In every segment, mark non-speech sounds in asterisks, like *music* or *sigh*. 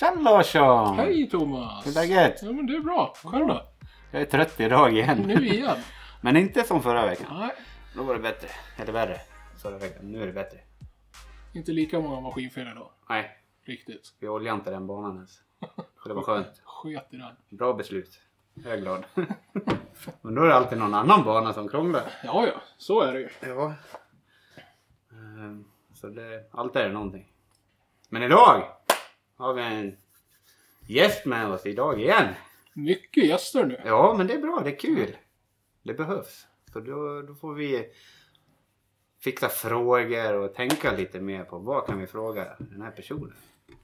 Larsson! Hej Thomas! Hur är läget? Ja men det är bra. Själv då? Jag är trött idag igen. Nu igen? Men inte som förra veckan. Nej, Då var det bättre. Eller värre. Förra veckan. Nu är det bättre. inte lika många maskinfel idag. Nej, Riktigt. vi oljade inte den banan ens. Så Det var skönt. Sket i den. Bra beslut. Jag är *laughs* glad. Men då är det alltid någon annan bana som krånglar. Ja, ja. Så är det ju. Ja. Ehm, Så det, allt är det någonting. Men idag har vi en gäst med oss idag igen. Mycket gäster nu. Ja, men det är bra. Det är Mm. kul. Det behövs. För då, då får vi fixa frågor och tänka lite mer på vad kan vi fråga den här personen.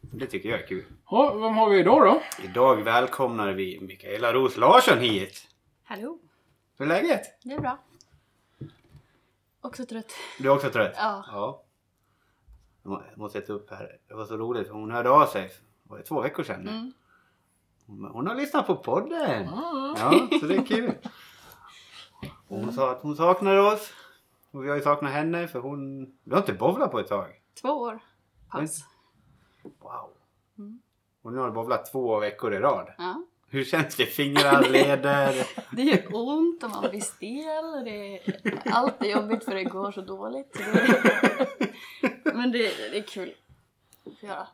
Det tycker jag är kul. Ja, vem har vi idag då? Idag välkomnar vi Mikaela Ros Larsson hit. Hallå, Hur är läget? det är bra. Också trött. Du är också trött? Ja. ja. Jag må- jag måste äta upp här. Det var så roligt för hon hörde av sig. Var det två veckor sedan? nu? Mm. Hon, hon har lyssnat på podden. Ah, Ja, så det är kul. Och hon sa att hon saknar oss. Och vi har ju saknat henne för hon... Vi har inte bowlat på ett tag. Två år. Pass. Wow. Mm. Och nu har du bowlat två veckor i rad. Ja. Hur känns det? Fingrar, leder? Det gör ont och man blir stel. Och det är, allt är jobbigt för det går så dåligt. Så det- Men det, det är kul att göra.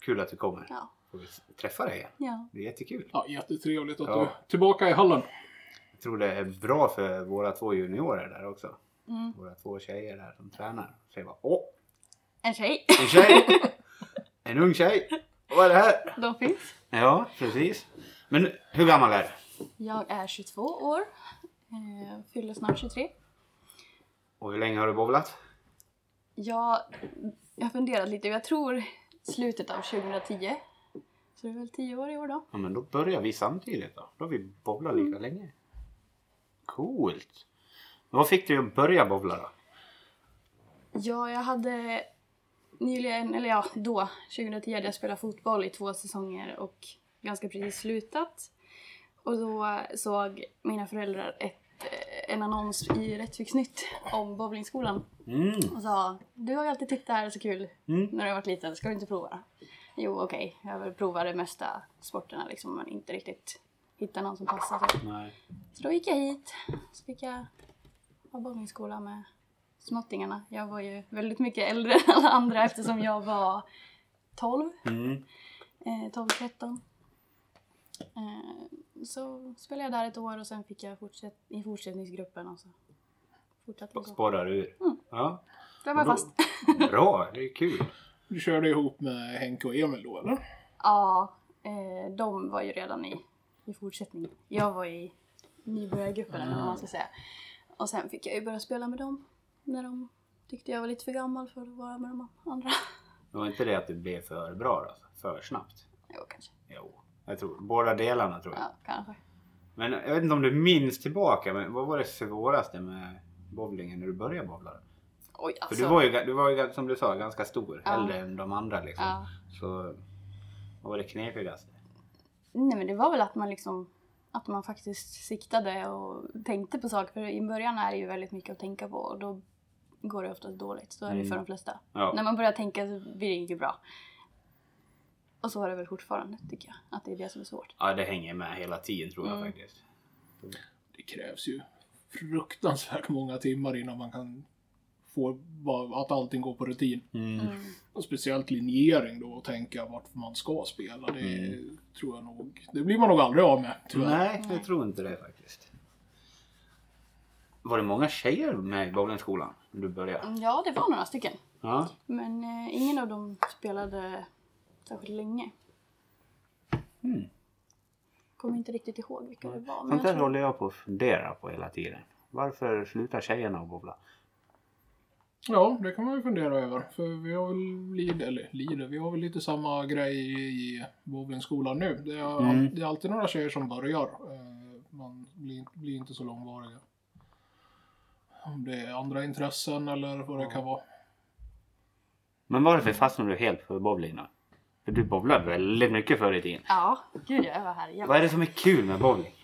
Kul att du kommer. Ja. Får vi träffa dig igen. ja. Det är jättekul. ja, jättetrevligt att Ja. du är tillbaka i hallen. Jag tror det är bra för våra två juniorer där också. Mm. Våra två tjejer där som tränar. Så jag bara, åh, En tjej. en tjej! En ung tjej! Vad är det här? De finns. Ja, precis. Men hur gammal är du? Jag är 22 år. Eh, Fyller snart 23. Och hur länge har du bowlat? Jag, jag har funderat lite. Jag tror slutet av 2010. Så det är väl 10 år i år då. Ja, men då börjar vi samtidigt då. Då har vi bowlat lika länge. Coolt! Men vad fick dig att börja bowla då? Ja, jag hade nyligen, eller ja, då, 2010 hade jag spelat fotboll i två säsonger och ganska precis slutat. Och då såg mina föräldrar ett, eh, en annons i Rättviksnytt om bowlingskolan Mm. och sa Du har ju alltid tyckt det här är så kul Mm. när du har varit liten, ska du inte prova? Jo, okej, jag har väl provat de mesta sporterna liksom, men inte riktigt hittat någon som passar. typ. Så. Nej. Så då gick jag hit. Så fick jag ha bowlingskola med småttingarna. Jag var ju väldigt mycket äldre än alla andra eftersom jag var 12, Mm. eh, 12, 13. Eh, så spelade jag där ett år och sen fick jag fortsätt i fortsättningsgruppen och så fortsatte det Och så. sporrar ur. Mm. *laughs* Ja. Där var jag Då- fast. Bra, det är kul. Du körde ihop med Henke och Emil då, eller? Ja, eh, de var ju redan i, i fortsättning. Jag var i nybörjargruppen eller vad man ska säga. Och sen fick jag ju börja spela med dem när de tyckte jag var lite för gammal för att vara med de andra. *laughs* Det var inte det att du blev för bra då? För snabbt? Jo, kanske. Jo, jag tror båda delarna tror jag. Ja, kanske. Men jag vet inte om du minns tillbaka, men vad var det svåraste med bowlingen när du började bowla? då? Oj, För alltså. du var ju, ga- du var ju som du sa ganska stor, Ja. äldre än de andra liksom. ja. Så vad var det knepigaste? Nej, men det var väl att man liksom att man faktiskt siktade och tänkte på saker. För i början är det ju väldigt mycket att tänka på och då går det oftast dåligt. Så är det ju för Mm. de flesta. Ja. När man börjar tänka så blir det inte bra. Och så är det väl fortfarande, tycker jag. Att det är det som är svårt. ja, det hänger med hela tiden tror jag Mm. faktiskt. Det krävs ju fruktansvärt många timmar innan man kan få bara att allting går på rutin. Mm. Och speciellt linjering då och tänka vart man ska spela. Det tror jag nog. Det blir man nog aldrig av med tyvärr. Mm. Nej, jag tror inte det faktiskt. Var det många tjejer med i bowlingskolan när du började? Mm, Ja, det var några stycken. Ja. Men eh, ingen av dem spelade särskilt länge. Mm. Kommer inte riktigt ihåg vilka det var. Sånt Men jag där tror... håller jag på att fundera på hela tiden. Varför slutar tjejerna att bowla? Ja, det kan man ju fundera över. För vi har väl lid, eller lider, vi har väl lite samma grej i- i bowlingskolan nu. Det är, all- Mm. det är alltid några tjejer som börjar. Eh, Man blir, blir inte så långvariga. Om det är andra intressen eller vad det kan vara. Men varför fastnade du helt för bowling då? För du bowlade väldigt mycket förr i tiden. Ja, gud jag var här igen. Vad är det som är kul med bowling?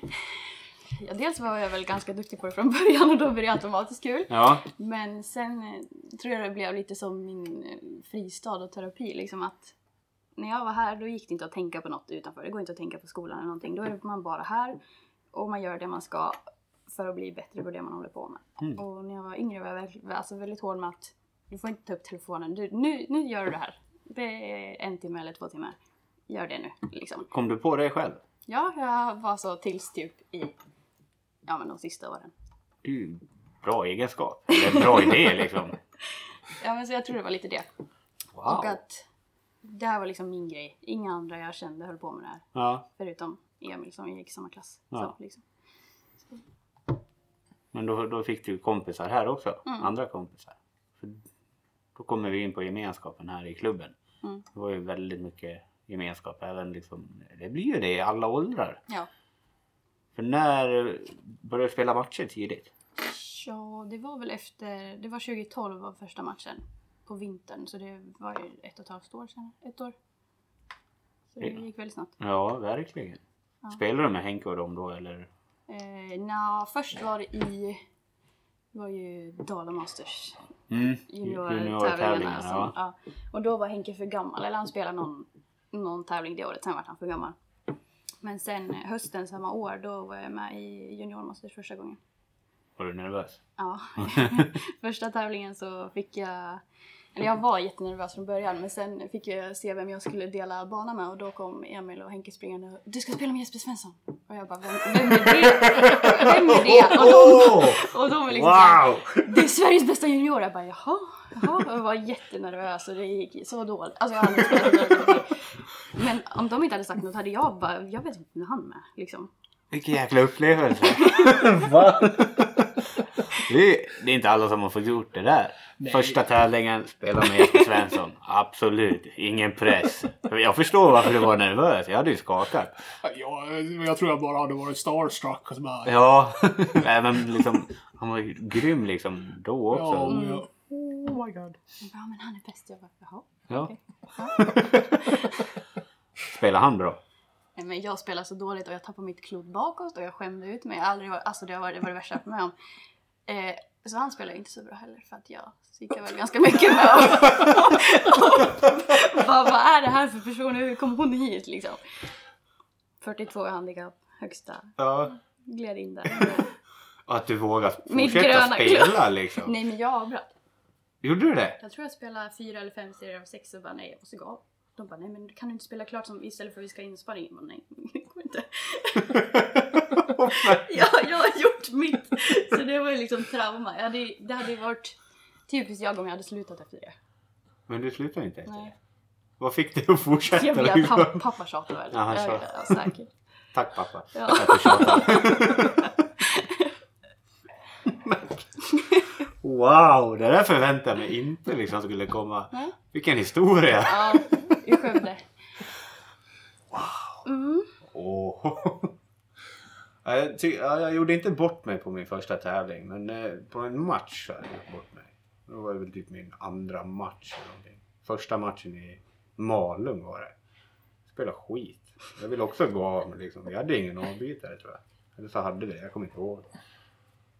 Ja, dels var jag väl ganska duktig på det från *laughs* början och då blev det automatiskt kul. Ja. Men sen eh, tror jag det blev lite som min eh, fristad och terapi. Liksom att när jag var här då gick det inte att tänka på något utanför. Det går inte att tänka på skolan eller någonting. Då är man bara här och man gör det man ska för att bli bättre på det man håller på med. Mm. Och när jag var yngre var jag väldigt, alltså väldigt hård med att du får inte ta upp telefonen. Du, nu, nu gör du det här. Det är en timme eller två timmar. Gör det nu liksom. Kom du på det själv? Ja, jag var så tills typ i ja, men de sista åren. Det är ju bra egenskap. Det är en bra idé *laughs* liksom. Ja, men så jag tror det var lite det. Wow. Och att det här var liksom min grej. Inga andra jag kände höll på med det här. Ja, Förutom Emil som vi gick i samma klass. Ja. Så, liksom. men då, då fick du kompisar här också. Mm. Andra kompisar. För då kommer vi in på gemenskapen här i klubben. Mm. Det var ju väldigt mycket gemenskap. Även liksom, det blir ju det i alla åldrar. ja. För när eh, började du spela matcher tidigt? ja, det var väl efter... Det var 2012 var första matchen. På vintern. Så det var ju ett och ett halvt år sedan. Ett år. Så det Ja. gick väldigt snabbt. Ja, verkligen. Ja. Spelade du med Henke och dem då eller? Eh, Nja, först var det i... Det var ju Dala Masters Mm. juniortävlingarna. som- Ja. Och då var Henke för gammal, eller han spelade någon, någon tävling det året, sen var han för gammal. Men sen eh, hösten samma år, då var jag med i juniormasters första gången. Var du nervös? Ja. *laughs* första tävlingen så fick jag, eller jag var jättenervös från början, men sen fick jag se vem jag skulle dela bana med och då kom Emil och Henke springande och du ska spela med Jesper Svensson. Och jag bara, vem, vem är det? *laughs* alltså. Vem är det? Och de, och de är liksom så här, Oh! Wow! det är Sveriges bästa junior! Jag bara jaha, jaha. Jag var jättenervös och det gick så dåligt. Alltså jag har aldrig spelat junior. Men om de inte hade sagt något hade jag bara, jag vet inte när han är med liksom. Vilken jäkla upplevelse! *laughs* det, är, det är inte alla som har fått gjort det där. Nej. Första tävlingen, spela med Jesper Svensson. Absolut, ingen press. Jag förstår varför du var nervös. Jag hade ju skakat. Ja, jag tror jag bara hade varit starstruck och så bara... Ja, även liksom... Han var ju grym liksom då också. Ja, ja. Oh my god. Jag bara, ja, men han är bäst. Jag bara jaha. Ja. Spelar han bra? Nej, Men jag spelar så dåligt och jag tappar mitt klot bakåt och jag skämde ut mig. Jag har aldrig varit, alltså det var det, var det värsta jag varit med om. Eh, så han spelar inte så bra heller för att jag psykar väl ganska mycket med honom. *laughs* Vad vad är det här för person? Hur kom hon hit liksom? 42 i handikapp, högsta. Ja. Gled *laughs* in där. Att du vågar Mitt fortsätta gröna spela liksom. Nej men jag avbröt. Gjorde du det? Jag tror jag spelade fyra eller fem serier av sex och bara nej, jag måste gå av. De bara nej men kan du inte spela klart som, istället för att vi ska ha insparring? Jag bara, nej, *laughs* det går *laughs* inte. jag, jag har gjort mitt! Så det var ju liksom trauma. Jag hade, det hade ju varit typiskt jag om jag hade slutat efter det. Men du slutar inte efter det? Nej. Vad fick dig att fortsätta? liksom? Jag blev pappa, pappa tjatar väl. Ja, han Jag- tjatar. ja, säkert. Tack pappa. Ja. Att du tjatar. wow, det där förväntade jag mig inte liksom skulle komma. Nej. Vilken historia! Ja, i Skövde. Mm. Åh. Ja, Jag, ty- ja, jag gjorde inte bort mig på min första tävling men eh, på en match så hade jag gjort bort mig. Det var väl typ min andra match eller någonting. Första matchen i Malung var det. Spelade skit. Jag ville också gå av men liksom, vi hade ingen avbytare tror jag. Eller så hade vi det, jag kommer inte ihåg.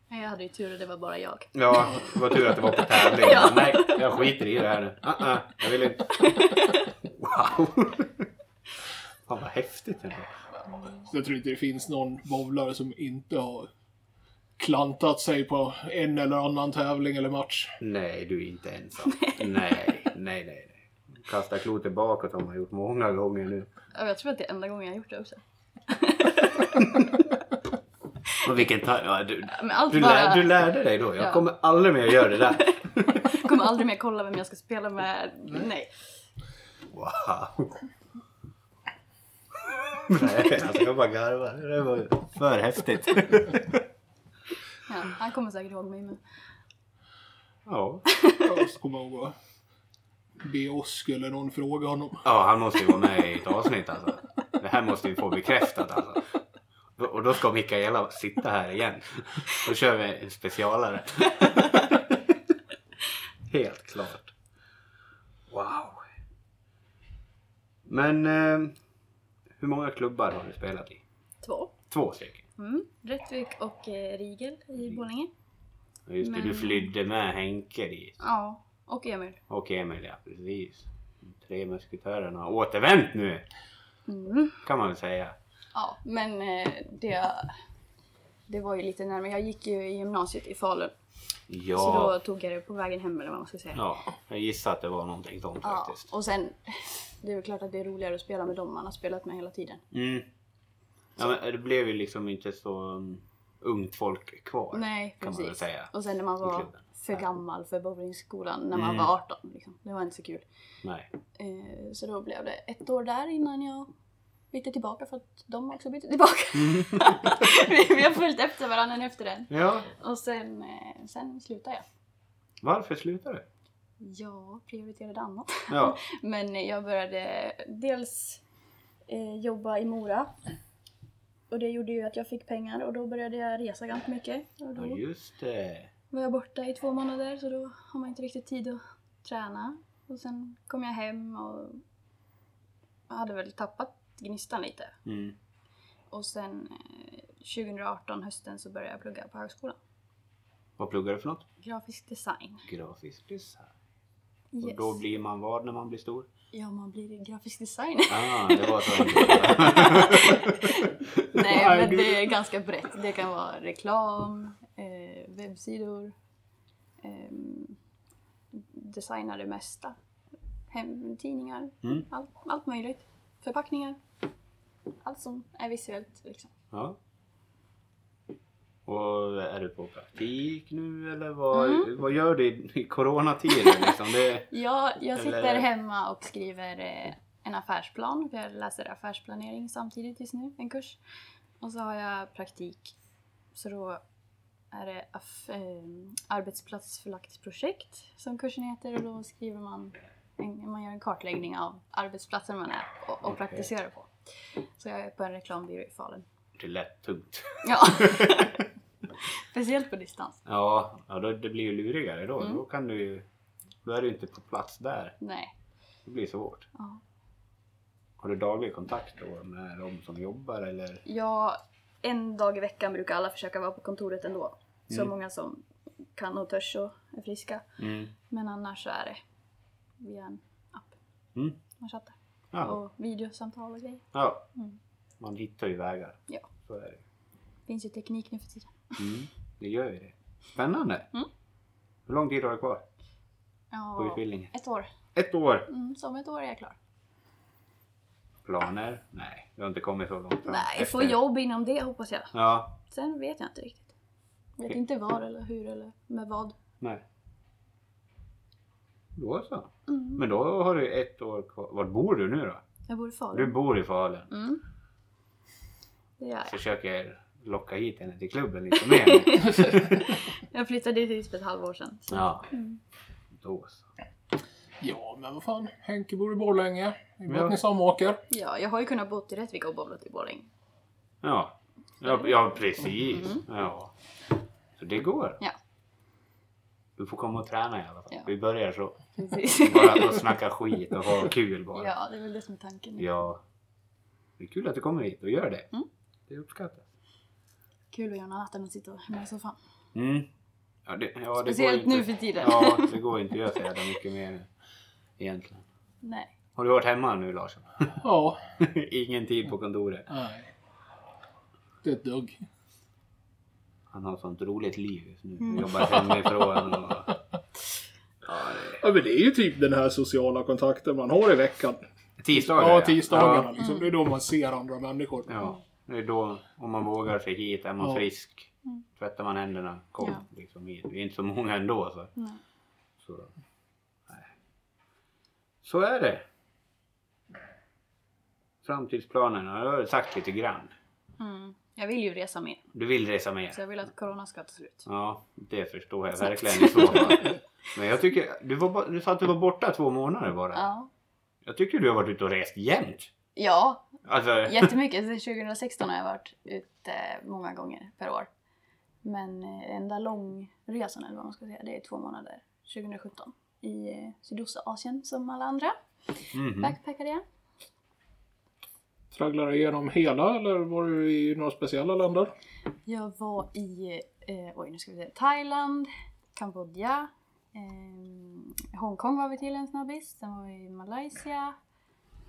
Men Jag hade ju tur och det var bara jag. Ja, det var tur att det var på tävling. Ja. Nej, jag skiter i det här nu. Uh-uh, jag vill inte. Wow! Fan vad häftigt ändå. Så jag tror inte det finns någon bowlare som inte har klantat sig på en eller annan tävling eller match. Nej, du är inte ensam. nej, nej, nej. nej. Kasta klotet bakåt har man gjort många gånger nu. Ja, Jag tror att det är enda gången jag har gjort det också. Och vilken ta- ja, du, Men allt du, bara... lär, du lärde dig då. Jag Ja. kommer aldrig mer göra det *laughs* där. Jag kommer aldrig mer kolla vem jag ska spela med. Nej. Wow! Nej, alltså jag bara garvar. Det var för *laughs* häftigt. Ja, han kommer säkert ihåg mig men... Ja. Och så kommer jag ihåg att be Oskar eller någon fråga honom. Ja, han måste ju vara med i ett avsnitt alltså. Det här måste vi få bekräftat alltså. Och då ska Mikaela sitta här igen. Då kör vi en specialare. Helt klart. Wow. Men eh, hur många klubbar har du spelat i? Två. Två stycken. Mm. Rättvik och eh, Rigel i Borlänge. Ja, Just det, du Men- flydde med Henke dit. Ja. Och Emil. Och Emil, ja precis. Inte Tre musketörerna har återvänt nu! Mm. Kan man väl säga. Ja, men eh, det, det var ju lite närmare. Jag gick ju i gymnasiet i Falun. Ja. Så då tog jag det på vägen hem eller vad man ska säga. Ja, jag gissar att det var någonting sånt Ja, faktiskt. och sen, det är väl klart att det är roligare att spela med dem man har spelat med hela tiden. Mm. Ja, men det blev ju liksom inte så um, ungt folk kvar. Nej, kan man väl precis. säga. Och sen när man var klubben. för gammal för bowlingskolan, när man Mm. var 18. Liksom. Det var inte så kul. Nej. Eh, så då blev det ett år där innan jag bytte tillbaka för att de också bytte tillbaka. Mm. *laughs* vi, vi har följt efter varandra efter den. Ja, Och sen, eh, sen slutade jag. varför slutade du? Jag prioriterade annat. *laughs* Ja. Men eh, jag började dels eh, jobba i Mora. Och det gjorde ju att jag fick pengar och då började jag resa ganska mycket. Och ja, då just det. var jag borta i två månader så då har man inte riktigt tid att träna. Och sen kom jag hem och jag hade väl tappat gnistan lite. Mm. Och sen eh, 2018, hösten, så började jag plugga på högskolan. Vad pluggar du för något? Grafisk design. Grafisk design. Och Yes. då blir man vad när man blir stor? Ja, man blir grafisk designer. Ah, det var så enkelt. Nej, men det är ganska brett. Det kan vara reklam, eh, webbsidor, eh, designa det mesta. Hem, tidningar, Mm. allt, allt möjligt. Förpackningar. Allt som är visuellt liksom. *laughs* Ja. Och är du på praktik nu eller vad, Mm. vad gör du i- i coronatider liksom? Det, Ja, jag sitter Eller- hemma och skriver eh, en affärsplan. För jag läser affärsplanering samtidigt just nu, en kurs. Och så har jag praktik. Så då är det aff- eh, arbetsplatsförlagt projekt som kursen heter. Och då skriver man, en, man gör en kartläggning av arbetsplatsen man är och, och Okej. praktiserar på. Så jag är på en reklambyrå i Falun. det lät tungt. *laughs* Ja. Speciellt på distans. Ja, ja då, det blir ju lurigare då. Mm. Då kan du ju... Då är du inte på plats där. Nej. Det blir svårt. Ja. Har du daglig kontakt då med de som jobbar eller? Ja, en dag i veckan brukar alla försöka vara på kontoret ändå. Så Mm. många som kan och törs och är friska. Mm. Men annars så är det via en app Mm. man chattar. Ja. Och videosamtal och grejer. ja. Mm. Man hittar ju vägar. Ja. Så är det. Finns ju teknik nu för tiden. Mm. Det gör ju det. Spännande! Mm. Hur lång tid har du kvar på Ja, utbildningen? ett år. Ett år! Mm, så om ett år är jag klar. Planer? Nej, du har inte kommit så långt fram. Nej, få Efter- jobb inom det hoppas jag. Ja, Sen vet jag inte riktigt. Vet inte var eller hur eller med vad. nej. Då så. Mm. Men då har du ett år kvar. Var bor du nu då? Jag bor i Du Falun. bor i Falun. Mm. Det gör jag. försöker locka hit henne till klubben lite *laughs* mer. Jag flyttade dit för ett halvår sedan. ja. Mm. Då så. Ja, men vad fan. Henke bor i Borlänge. Vi bor Ja. i Samåker. Ja, jag har ju kunnat bo i Rättvik och bowlat i Borlänge. Ja. Ja, Mm. ja precis. Ja. Så det går. Ja. Du får komma och träna i alla fall. Ja. Vi börjar så. *laughs* Precis. Bara att snacka skit och ha kul bara. ja, det är väl det som är tanken. Ja. Det är kul att du kommer hit och gör det. Mm. Det uppskattas. Kul att göra något annat än att sitta hemma i soffan. Mm. Ja, det, ja, det går Speciellt inte. nu för tiden. Ja, det går inte att göra så jävla mycket mer nu. Egentligen. Nej. Har du varit hemma nu Larsson? *laughs* Ja. Ingen tid på kontoret. Nej. Det är ett dugg. Han har sånt roligt liv just nu. Mm. Han jobbar hemifrån och... Ja, men det är ju typ den här sociala kontakten man har i veckan. *laughs* Tisdagar Ja, tisdagarna Ja. liksom. Det är då man ser andra människor. ja. Det är då, om man vågar sig hit, är man Ja. frisk. Tvättar man händerna, kom Mm. Ja. liksom hit. Vi är inte så många ändå. Så, Nej. så, nej. så är det. Framtidsplanerna, jag har sagt lite grann. Mm. Jag vill ju resa mer, Du vill resa mer? så jag vill att corona ska ta slut. Ja, det förstår jag Snabbt. verkligen i så *laughs* fall. Men jag tycker, du, var, ba- du sa att du var borta två månader bara. Ja. Jag tycker du har varit ute och rest jämt. Ja, Alltså, jättemycket. Sedan 2016 har jag varit ute många gånger per år. Men eh, enda långresan, eller vad man ska säga, det är två månader. 2017. I eh, Sydostasien som alla andra. mhm. Backpackade jag. Tragglar du igenom hela eller var du i några speciella länder? Jag var i eh, oj, nu ska vi se, Thailand, Kambodja, ehm, Hongkong var vi till en snabbis, sen var vi i Malaysia,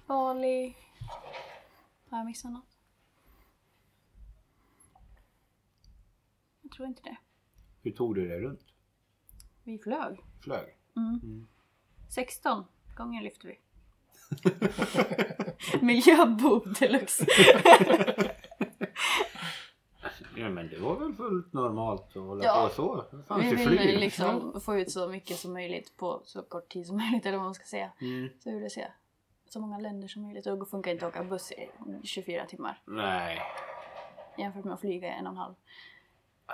Bali. Har jag missat något? Jag tror inte det. Hur tog du dig runt? Vi flög. Flög? Mm. 16 gånger lyfte *laughs* vi. Miljöbov deluxe. Ja men det var väl fullt normalt att hålla Ja. på så? Det fanns Vi ju ville flyg. liksom få ut så mycket som möjligt på så kort tid som möjligt eller vad man ska säga. Mm. Så vi ville se så många länder som möjligt och det funkar inte att åka buss i 24 timmar Nej, jämfört med att flyga i en och en halv.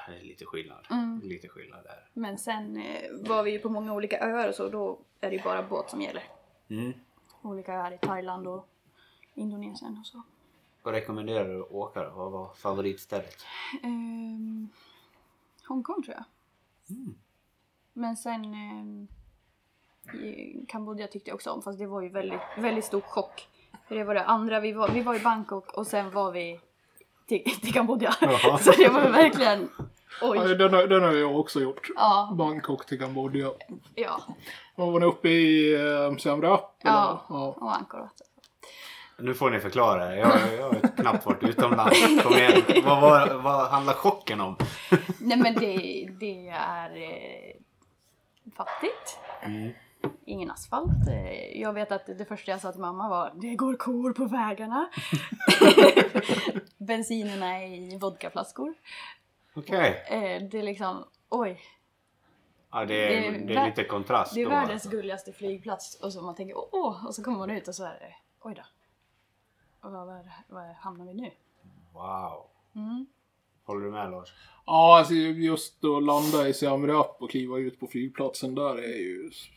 det är lite skillnad. Mm. Lite skillnad där. Men sen eh, var vi ju på många olika öar och så då är det ju bara båt som gäller. Mm. Olika öar i Thailand och Indonesien och så. Vad rekommenderar du att åka då? Vad var favoritstället? Ehm, Hongkong tror jag. Men sen ehm, i Kambodja tyckte jag också om fast det var ju väldigt, väldigt stor chock. För det var det andra, vi var, vi var i Bangkok och sen var vi till, *laughs* till Kambodja. Jaha. Så det var verkligen Nej, oj. Den, har- den har jag också gjort. Ja, Bangkok till Kambodja. ja. Var var ni uppe i eh, Siem Reap? eller? Ja. ja. Och Ankorat. Nu får ni förklara. Jag, jag har knappt varit utomlands. Kom *laughs* igen. Vad, var, vad handlar chocken om? Nej men det, det är eh, fattigt. Ingen asfalt. Eh, Jag vet att det första jag sa till mamma var det går kor på vägarna. Bensinerna är i vodkaflaskor. Okej. Eh, Det är liksom, oj, Ja, det, är, Det är det vär- är lite kontrast det är då. världens alltså. gulligaste flygplats. Och så man tänker åh, åh, och så kommer man ut och så är det, oj då. Och vad, vad, vad hamnar vi nu? Wow. Mm. Håller du med Lars? ja, alltså just att landa i Siem Reap och kliva ut på flygplatsen där är ju s-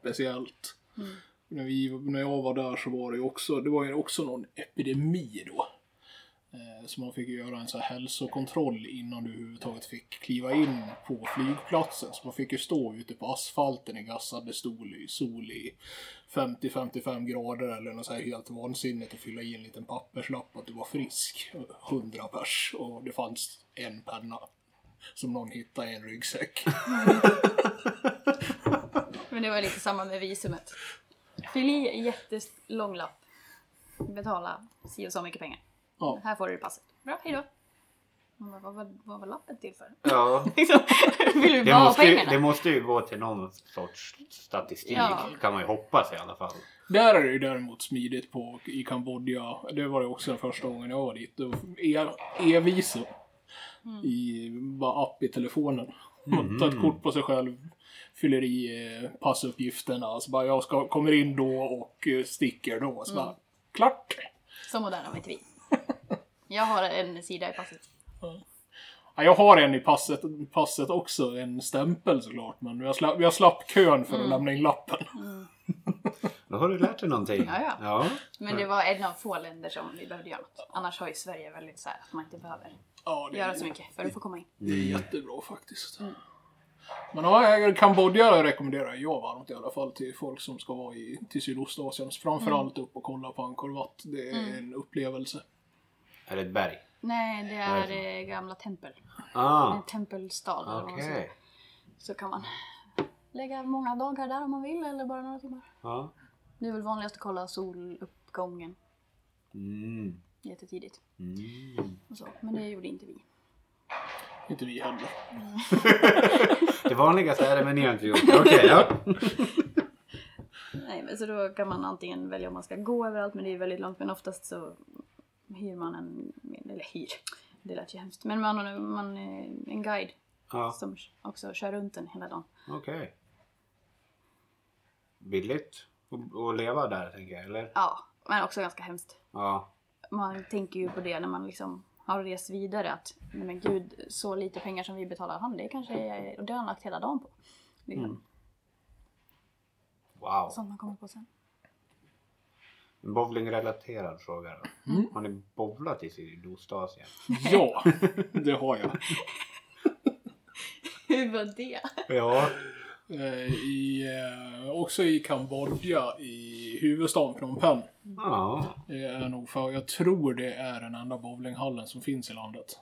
speciellt. Mm. När, vi, när jag var där så var det ju också, det var ju också någon epidemi då. Eh, Så man fick ju göra en så här hälsokontroll innan du överhuvudtaget fick kliva in på flygplatsen. Så man fick ju stå ute på asfalten i gassade stol i sol i 50-55 grader eller något så här helt vansinnigt och fylla i en liten papperslapp att du var frisk. 100 pers och det fanns en penna som någon hittade i en ryggsäck. Men det var lite samma med visumet. Fyll i jättelång lapp. Betala si och så mycket pengar. Ja. Här får du passet. Bra, hejdå. Man bara, vad, vad, vad var lappen till för? *laughs* Ja. Liksom, Vill du Det bara ha måste, ju, pengarna? det måste ju gå till någon sorts statistik. Ja. Kan man ju hoppas i alla fall. Där är det ju däremot smidigt på i Kambodja. Det var det också den första gången jag var dit. Då e- E-visum. I bara app i telefonen. Man tar ett kort på sig själv. Fyller i eh, passuppgifterna. Så bara jag ska, kommer in då och eh, sticker då. Så bara klart. Så moderna var inte vi. Jag har en sida i passet. Ja, jag har en i passet, passet också. En stämpel såklart. Men jag slapp, jag slapp kön för att lämna in lappen. Då har du lärt dig någonting. Ja, ja. ja. Men Mm. det var en av få länder som vi behövde göra något. Annars har ju Sverige väldigt så här att man inte behöver Ja, det är göra så mycket för att få komma in. Det är jättebra faktiskt. Men ja, Kambodja rekommenderar jag varmt i alla fall till folk som ska vara i, till Sydostasien. Framförallt upp och kolla på Angkor Wat. Det är en upplevelse. Är det ett berg? Nej, det Vad är är det eh, gamla tempel. Ah, En tempelstad. eller vad man okej. säger. Så kan man lägga många dagar där om man vill eller bara några timmar. Ja. Det är väl vanligast att kolla soluppgången Mm. jättetidigt. Mm. Och så. Men det gjorde inte vi. Inte vi heller. Det vanligaste är det, men ni har inte gjort det. Okej, ja. Nej, men så då kan man antingen välja om man ska gå överallt, men det är väldigt långt. Men oftast så hyr man en, eller hyr, det lät ju hemskt. Men man har man, eh, en guide ja. som också kör runt en hela dagen. Okej. Billigt att- att leva där, tänker jag. Eller? Ja, men också ganska hemskt. Ja. Man tänker ju på det när man liksom har rest vidare att nej men gud, så lite pengar som vi betalar han, det kanske är, och det har han lagt hela dagen på. Det är Wow. sånt man kommer på sen. En bowlingrelaterad fråga då. Mm. Har ni bowlat i Sydostasien? Ja, det har jag. Hur var det? Ja. Eh, I, eh, också i Kambodja, i huvudstaden Phnom Penh. Ja. Det är nog för, jag tror det är den enda bowlinghallen som finns i landet.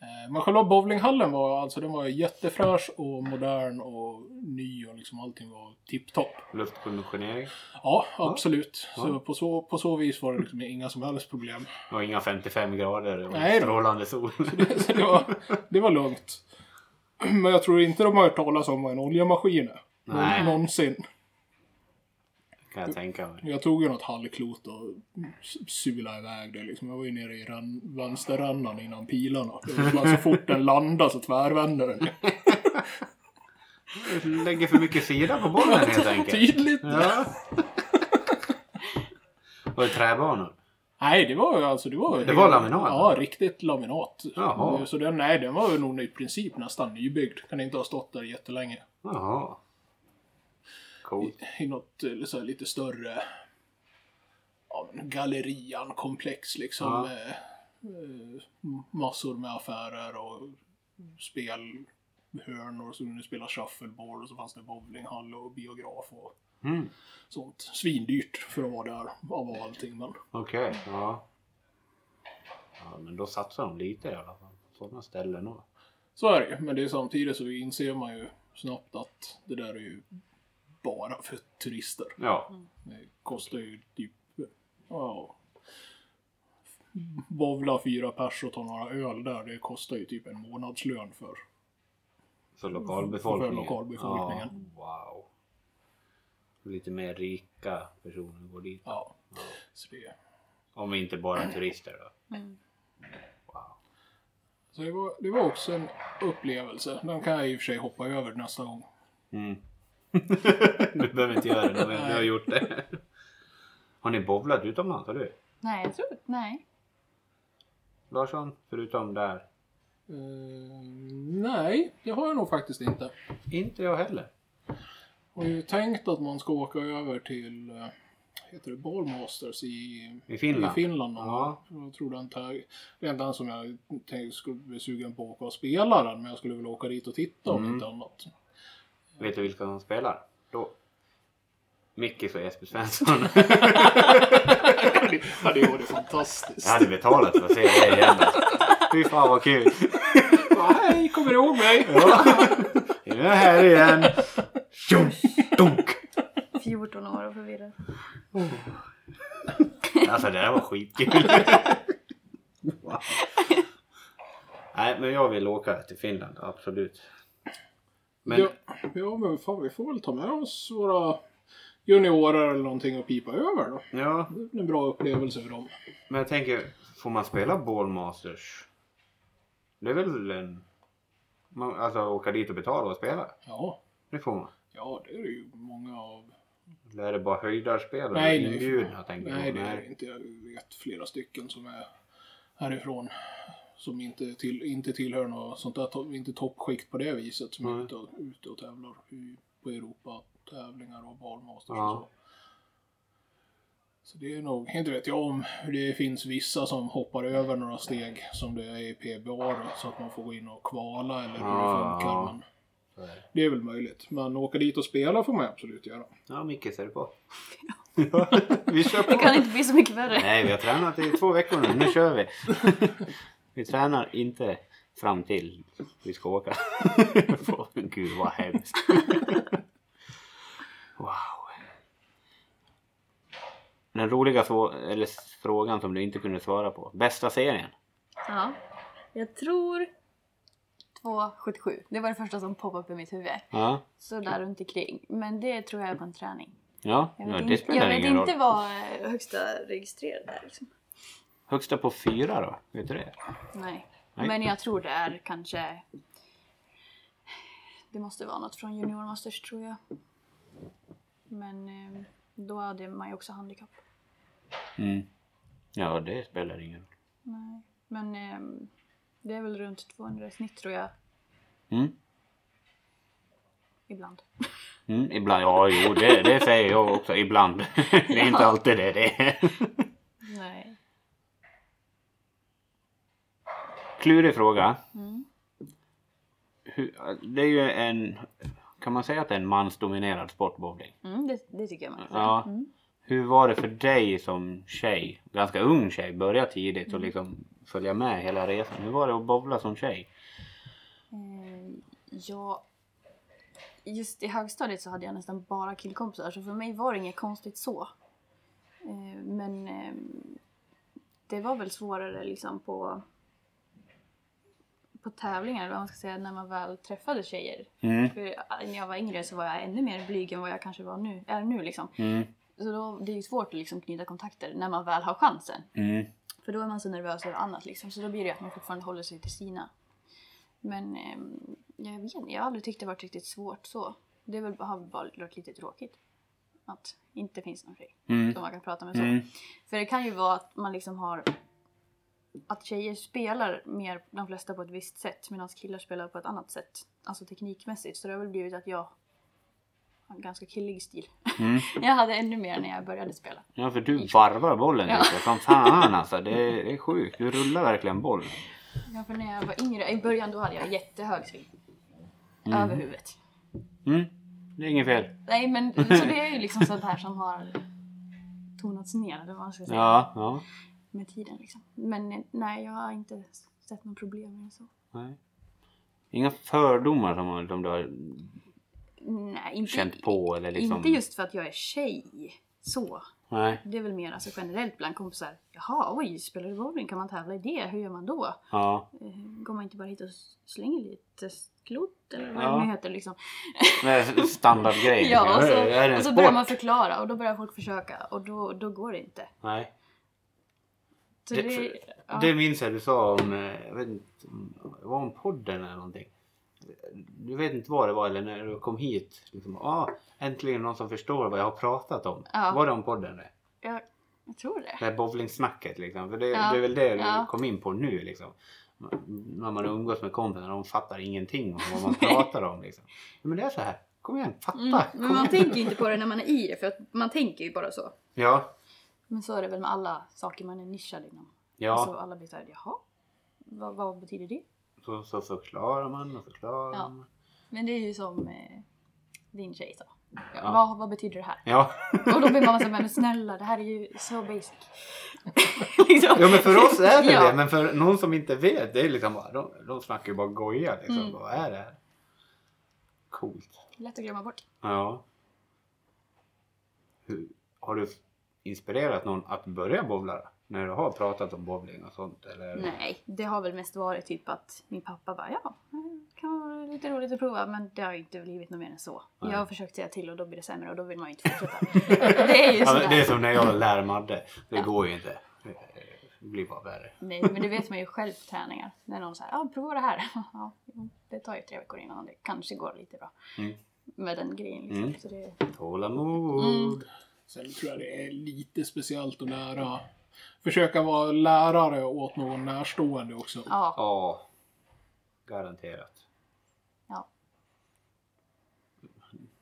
Eh, Men själva bowlinghallen var alltså den var jättefräsch och modern och ny och liksom allting var tipptopp. Luftkonditionering. Ja, absolut. Ja. Så på, så på så vis var det liksom inga som helst problem. *laughs* Det var inga 55 grader och Nej då. strålande sol. *laughs* Så det var, det var lugnt. *clears throat* Men jag tror inte de har hört talas om vad en oljemaskin är. Nej. Någonsin. kan jag tänka mig. Jag tog ju något halvklot och s- sula iväg det liksom. Jag var ju nere i ran- vänsterrännan innan pilarna. Det var bara så fort den landade så *laughs* tvärvände den. Lägger för mycket sida på bollen *laughs* helt enkelt. Tydligt! Ja. Var det träbanor? Nej, det var ju alltså... Det var, Det var laminat? Ja, riktigt laminat. Jaha. Så den, nej, den var ju nog i princip nästan nybyggd. Kan inte ha stått där jättelänge. Jaha. Coolt. I något eh, så här, lite större... Ja, men gallerian-komplex liksom. Ja. Eh, eh, massor med affärer och spelhörnor som kunde spela shuffleboard och så fanns det bowlinghall och biograf och Mm. sånt. Svindyrt för att vara där av allting, men... Okej, ja. ja. Men då satsar de lite i alla fall. Sådana ställen då. Så är det ju, men det är samtidigt så inser man ju snabbt att det där är ju bara för turister. Ja. Det kostar ju typ, ja, bovla fyra pers och ta några öl där, det kostar ju typ en månadslön för. Mm. För lokalbefolkningen. För lokalbefolkningen. Ja, wow. Lite mer rika personer går dit. Ja. Så, det, Om inte bara turister då. Mm. Wow. så det, var, det var också en upplevelse. Den kan jag i och för sig hoppa över nästa gång. Mm. du behöver inte göra det, men du har gjort det. *laughs* Har ni bowlat utomlands? Har du? Nej, jag tror inte. Nej. Larsson, förutom där? Eh, nej, det har jag nog faktiskt inte. Inte jag heller. har ju tänkt att man ska åka över till eh, heter det Ballmasters i, I Finland. I Finland någon Ja. gång. Jag tror den tar, det enda som jag tänkte skulle bli sugen på att åka och spela den, men jag skulle väl åka dit och titta om Mm. inte annat. *laughs* Vet du vilka som spelar? Då. Mickis och Jesper Svensson. ja, det vore fantastiskt. Jag hade betalat för att se det igen. Fy fan vad kul. Ja, Hej, kommer du ihåg mig? Nu är jag här igen. Tjong, dunk. 14 år och förvirrad. Alltså det där var skitkul. *laughs* Wow. Nej men jag vill åka till Finland, absolut. Men Ja, ja, men fan vi får väl ta med oss våra juniorer eller någonting och pipa över då. ja, Det blir en bra upplevelse för dem. men jag tänker, får man spela Ballmasters? Det är väl en... Man, alltså åka dit och betala och spela? Ja, Det får man. ja det är det ju många av Eller är det bara höjdarspelare Nej, nej. inbjudna? Tänker Nej, jag. det är det inte. Jag vet flera stycken som är härifrån. Som inte, till, inte tillhör något sånt där, to- inte toppskikt på det viset. Som Nej. är ute och, ute och tävlar i, på Europa-tävlingar och barnmasters Ja. och så. Så det är nog, inte vet jag om det finns vissa som hoppar över några steg som det är i PBA då, så att man får gå in och kvala eller hur Ja, det funkar. ja. Men det är väl möjligt. Men åka dit och spela får man absolut göra. Ja, Micke ser du *laughs* på. vi kör Det på. kan inte bli så mycket värre. Nej, vi har tränat i två veckor nu. Nu kör vi. vi tränar inte fram till vi ska åka. *laughs* Åh, Gud vad hemskt. wow. Den roliga frå- eller s- frågan som du inte kunde svara på. Bästa serien? Ja. Jag tror 2,77. Det var det första som poppade upp i mitt huvud. Ja. Så där runt omkring. Men det tror jag är på en träning. Ja, Jag vet ja det inte, spelar jag vet ingen roll. inte vad eh, högsta registrerad är. Liksom. Högsta på fyra då? Vet du det? Nej. Nej. Men jag tror det är kanske... Det måste vara något från Junior Masters tror jag. Men eh, då hade man ju också handikapp. Mm. Ja, det spelar ingen roll. Nej. Men eh, det är väl runt 200 i snitt tror jag. Mm. Ibland. Mm, ibland, ja jo det, det säger jag också, ibland. *laughs* Det är inte Ja. alltid det det är. Nej. Klurig fråga. Mm. Hur, det är ju en, kan man säga att det är en mansdominerad sport bowling? Mm, det, det tycker jag man kan Ja. säga. Mm. Mm. Hur var det för dig som tjej, ganska ung tjej, börja tidigt och liksom följa med hela resan? Hur var det att bowla som tjej? Eh, ja, just i högstadiet så hade jag nästan bara killkompisar så för mig var det inget konstigt så. Eh, men eh, det var väl svårare liksom på, på tävlingar eller vad man ska säga när man väl träffade tjejer. Mm. För eh, när jag var yngre så var jag ännu mer blyg än vad jag kanske var nu, är nu liksom. Mm. Så då, det är ju svårt att liksom knyta kontakter när man väl har chansen. Mm. För då är man så nervös över annat liksom, så då blir det att man fortfarande håller sig till sina. Men ehm, jag vet inte, jag har aldrig tyckt det varit riktigt svårt så. Det är väl, har väl bara varit lite tråkigt. Att inte finns någon tjej Mm. som man kan prata med så. Mm. För det kan ju vara att man liksom har att tjejer spelar mer, de flesta på ett visst sätt medan killar spelar på ett annat sätt. Alltså teknikmässigt. Så det har väl blivit att jag har en ganska killig stil. Mm. *laughs* Jag hade ännu mer när jag började spela. Ja för du varvar bollen Ja. lite som fan alltså. Det är, det är sjukt. Du rullar verkligen boll. Ja, för när jag var yngre, i början då hade jag jättehög sving. Mm. Över huvudet. Mm. Det är inget fel. Nej men så det är ju liksom sånt här som har tonats ner eller vad man ska säga. Ja. ja. Med tiden liksom. Men eh, nej jag har inte sett något problem med det så. Nej. Inga fördomar som man- som du har Nej inte, känt på eller liksom. inte just för att jag är tjej. Så. Nej. Det är väl mer alltså generellt bland kompisar. Jaha oj spelar du bowling? Kan man tävla i det? Hur gör man då? Ja. Eh, Går man inte bara hit och s- slänger lite klot eller vad Ja. det nu heter liksom? Nej, Standardgrej. Ja, och Är det- är det en så, och så sport? börjar man förklara och då börjar folk försöka och då, då går det inte. Nej. Så Det- det, för- ja. Det minns jag du sa om, eh, jag vet inte, om- det var om podden eller någonting. Du vet inte vad det var eller när du kom hit. Liksom, ah, äntligen någon som förstår vad jag har pratat om. Ja. Var det om podden? Det, jag, jag tror det. det här bowlingsnacket liksom. För det, Ja. det är väl det du Ja. kom in på nu liksom. När man umgås med kompisar de fattar ingenting om vad *laughs* man pratar om. Liksom. Ja, Men det är så här. Kom igen, fatta! Mm, kom men man igen. tänker ju inte på det när man är i det för att man tänker ju bara så. Ja, Men så är det väl med alla saker man är nischad inom. ja. Alltså alla blir såhär, jaha, vad, vad betyder det? Så, så förklarar man och förklarar Ja. man. Men det är ju som eh, din tjej sa. Ja. Vad, vad betyder det här? Ja. Och då blir man såhär, men snälla det här är ju så basic. *laughs* liksom. Ja men för oss är det Ja. det. Men för någon som inte vet. Det är liksom bara, de, de snackar ju bara goja liksom. Mm. Vad är det här? Coolt. Lätt att glömma bort. Ja. Hur, har du inspirerat någon att börja bowla? När du har pratat om bowling och sånt? Eller? Nej, det har väl mest varit typ att min pappa bara ja, det kan vara lite roligt att prova men det har ju inte blivit något mer än så. Nej. Jag har försökt säga till och då blir det sämre och då vill man ju inte fortsätta. *laughs* det är ju Ja, men det är sådär. som när jag lär Madde. Det Ja. går ju inte. Det blir bara värre. Nej, men det vet man ju själv på träningar. När någon säger ja, prova det här. *laughs* Ja, jo, det tar ju tre veckor innan det kanske går lite bra. Mm. Med den grejen liksom. Mm. Så det, Tålamod. Mm. Sen tror jag det är lite speciellt att lära. Försöka vara lärare åt någon närstående också. ja, Ja. Garanterat. Ja.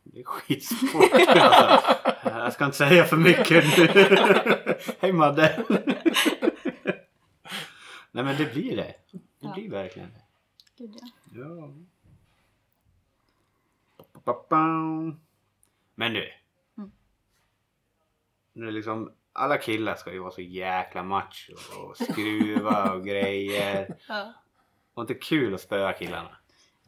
Det är skitsport alltså. Jag ska inte säga för mycket nu. Hej Madde! Nej men det blir det. Det Ja. blir verkligen det. gud ja. Ja. Pa-pa-pa-pam. Men du. Mm. Nu är det liksom, alla killar ska ju vara så jäkla macho och skruva och grejer. ja. Var inte kul att spöa killarna?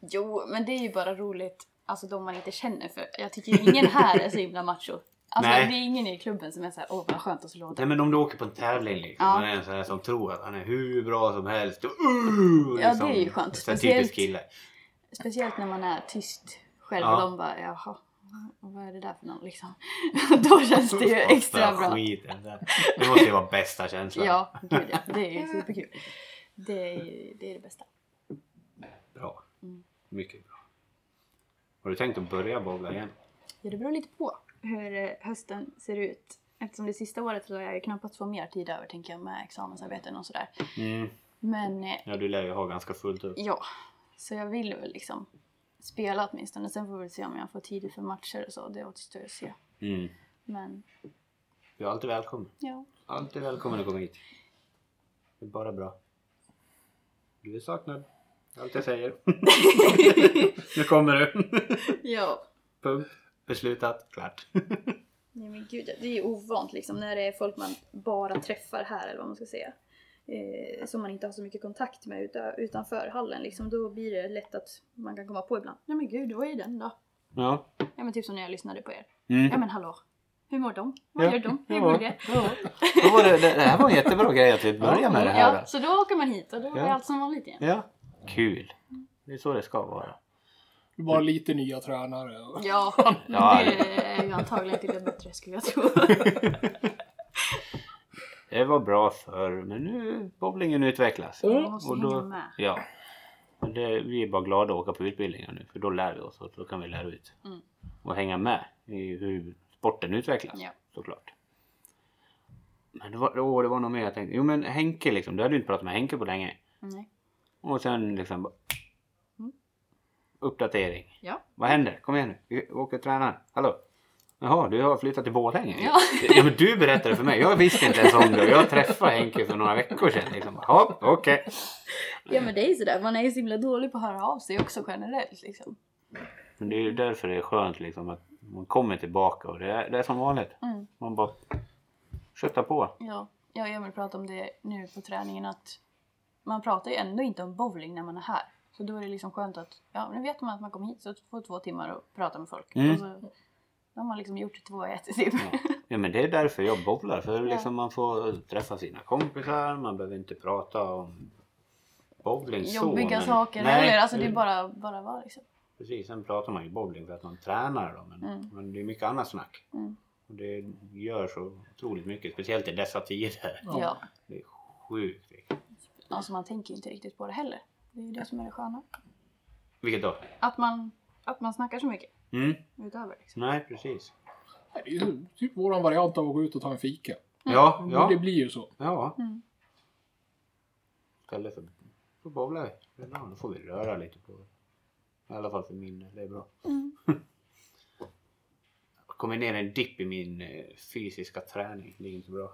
Jo, men det är ju bara roligt, alltså de man inte känner för. Jag tycker ju ingen här är så himla macho. Alltså Nej. det är ingen i klubben som är såhär, åh vad skönt att slå Nej den. men om du åker på en tävling liksom. Ja. Man är en sån här som tror att han är hur bra som helst. Och, uh, Ja, det är ju skönt. Så här Speciellt- typisk kille. Speciellt när man är tyst själv Ja. och de bara, jaha, vad är det där för någon liksom? *laughs* då känns *laughs* det ju extra Spotta bra. Skiten. där. Det måste ju vara bästa känslan. Ja, gud ja. Det är ju superkul. Det är ju det, är det bästa. Bra. Mm. Mycket bra. Har du tänkt att börja bowla igen? Ja, det beror lite på hur eh, hösten ser ut. Eftersom det sista året så har jag ju knappast fått mer tid över tänker jag med examensarbeten och sådär. Mm. Men eh, Ja du lär ju ha ganska fullt upp. ja, så jag vill väl liksom spela åtminstone. Sen får vi väl se om jag får tid för matcher och så. Det återstår att se. Mm. Men Du är alltid välkommen. ja, Alltid välkommen att komma hit. Det är bara bra. Du är saknad. Det är Allt jag *laughs* säger. nu kommer du. ja. Punkt. Beslutat. Klart. Nej men gud, det är ju ovant liksom när det är folk man bara träffar här eller vad man ska säga. eh, som man inte har så mycket kontakt med uta- utanför hallen liksom, då blir det lätt att man kan komma på ibland. Nej men gud, det var ju den då. Ja. Ja men typ som när jag lyssnade på er. Mm. Ja men hallå, hur mår de? Vad Ja, gör de? Hur ja. går det? Då var det, det det här var en jättebra grej att vi började med det här. Ja, så då åker man hit och då är Ja. allt som vanligt igen. Ja. Kul. Det är så det ska vara. Bara lite nya tränare. och- Ja, Ja. det är ju antagligen till det bättre skulle jag tro. Mm, Det var bra förr men nu bowlingen utvecklas. Man måste Och hänga då, med. ja. Men det, vi är bara glada att åka på utbildningar nu för då lär vi oss och då kan vi lära ut. Mm. Och hänga med i hur sporten utvecklas Ja. såklart. Men det var, åh, det var något mer jag tänkte. Jo men Henke liksom, du hade ju inte pratat med Henke på länge. Mm, Nej. Och sen liksom bara- Mm. Uppdatering. Ja. Vad händer? Kom igen nu. Vi åker och tränar. Hallå? Jaha, du har flyttat till Borlänge? Ja. ja men du berättade för mig. Jag visste inte ens om det. Och Jag träffade Henke för några veckor sedan. Liksom. Hopp, okej. Ja men det är ju sådär, man är ju så himla dålig på att höra av sig också generellt liksom. Men det är ju därför det är skönt liksom att man kommer tillbaka och det är, det är som vanligt. Mm. Man bara köttar på. Ja, jag och Emil pratade om det nu på träningen att man pratar ju ändå inte om bowling när man är här. Så då är det liksom skönt att, ja nu vet man att man kom hit så får två timmar och prata med folk. Mm. Och så, då har man liksom gjort två i ett typ. Ja. ja men det är därför jag bowlar. För Ja. liksom man får träffa sina kompisar. Man behöver inte prata om bowling så, Jobbiga men- saker, Nej, eller alltså det är bara, bara var liksom. Precis, sen pratar man ju bowling för att man tränar då, men, Mm. men det är mycket annat snack. Mm. Och det gör så otroligt mycket, speciellt i dessa tider. Ja. ja. Det är sjukt viktigt. Alltså man tänker ju inte riktigt på det heller. Det är ju det som är det sköna. Vilket då? Att man, att man snackar så mycket Mm. utöver liksom. Nej, precis. Nej, Det är ju typ våran variant av att gå ut och ta en fika. Ja, Ja. Mm. Det ja. blir ju så. ja. Mm. Istället för då bowlar vi. Det är bra, Då får vi röra lite på det. I alla fall för min del, det är bra. Mm. Jag kommer ner en dipp i min eh, fysiska träning, det är inte bra.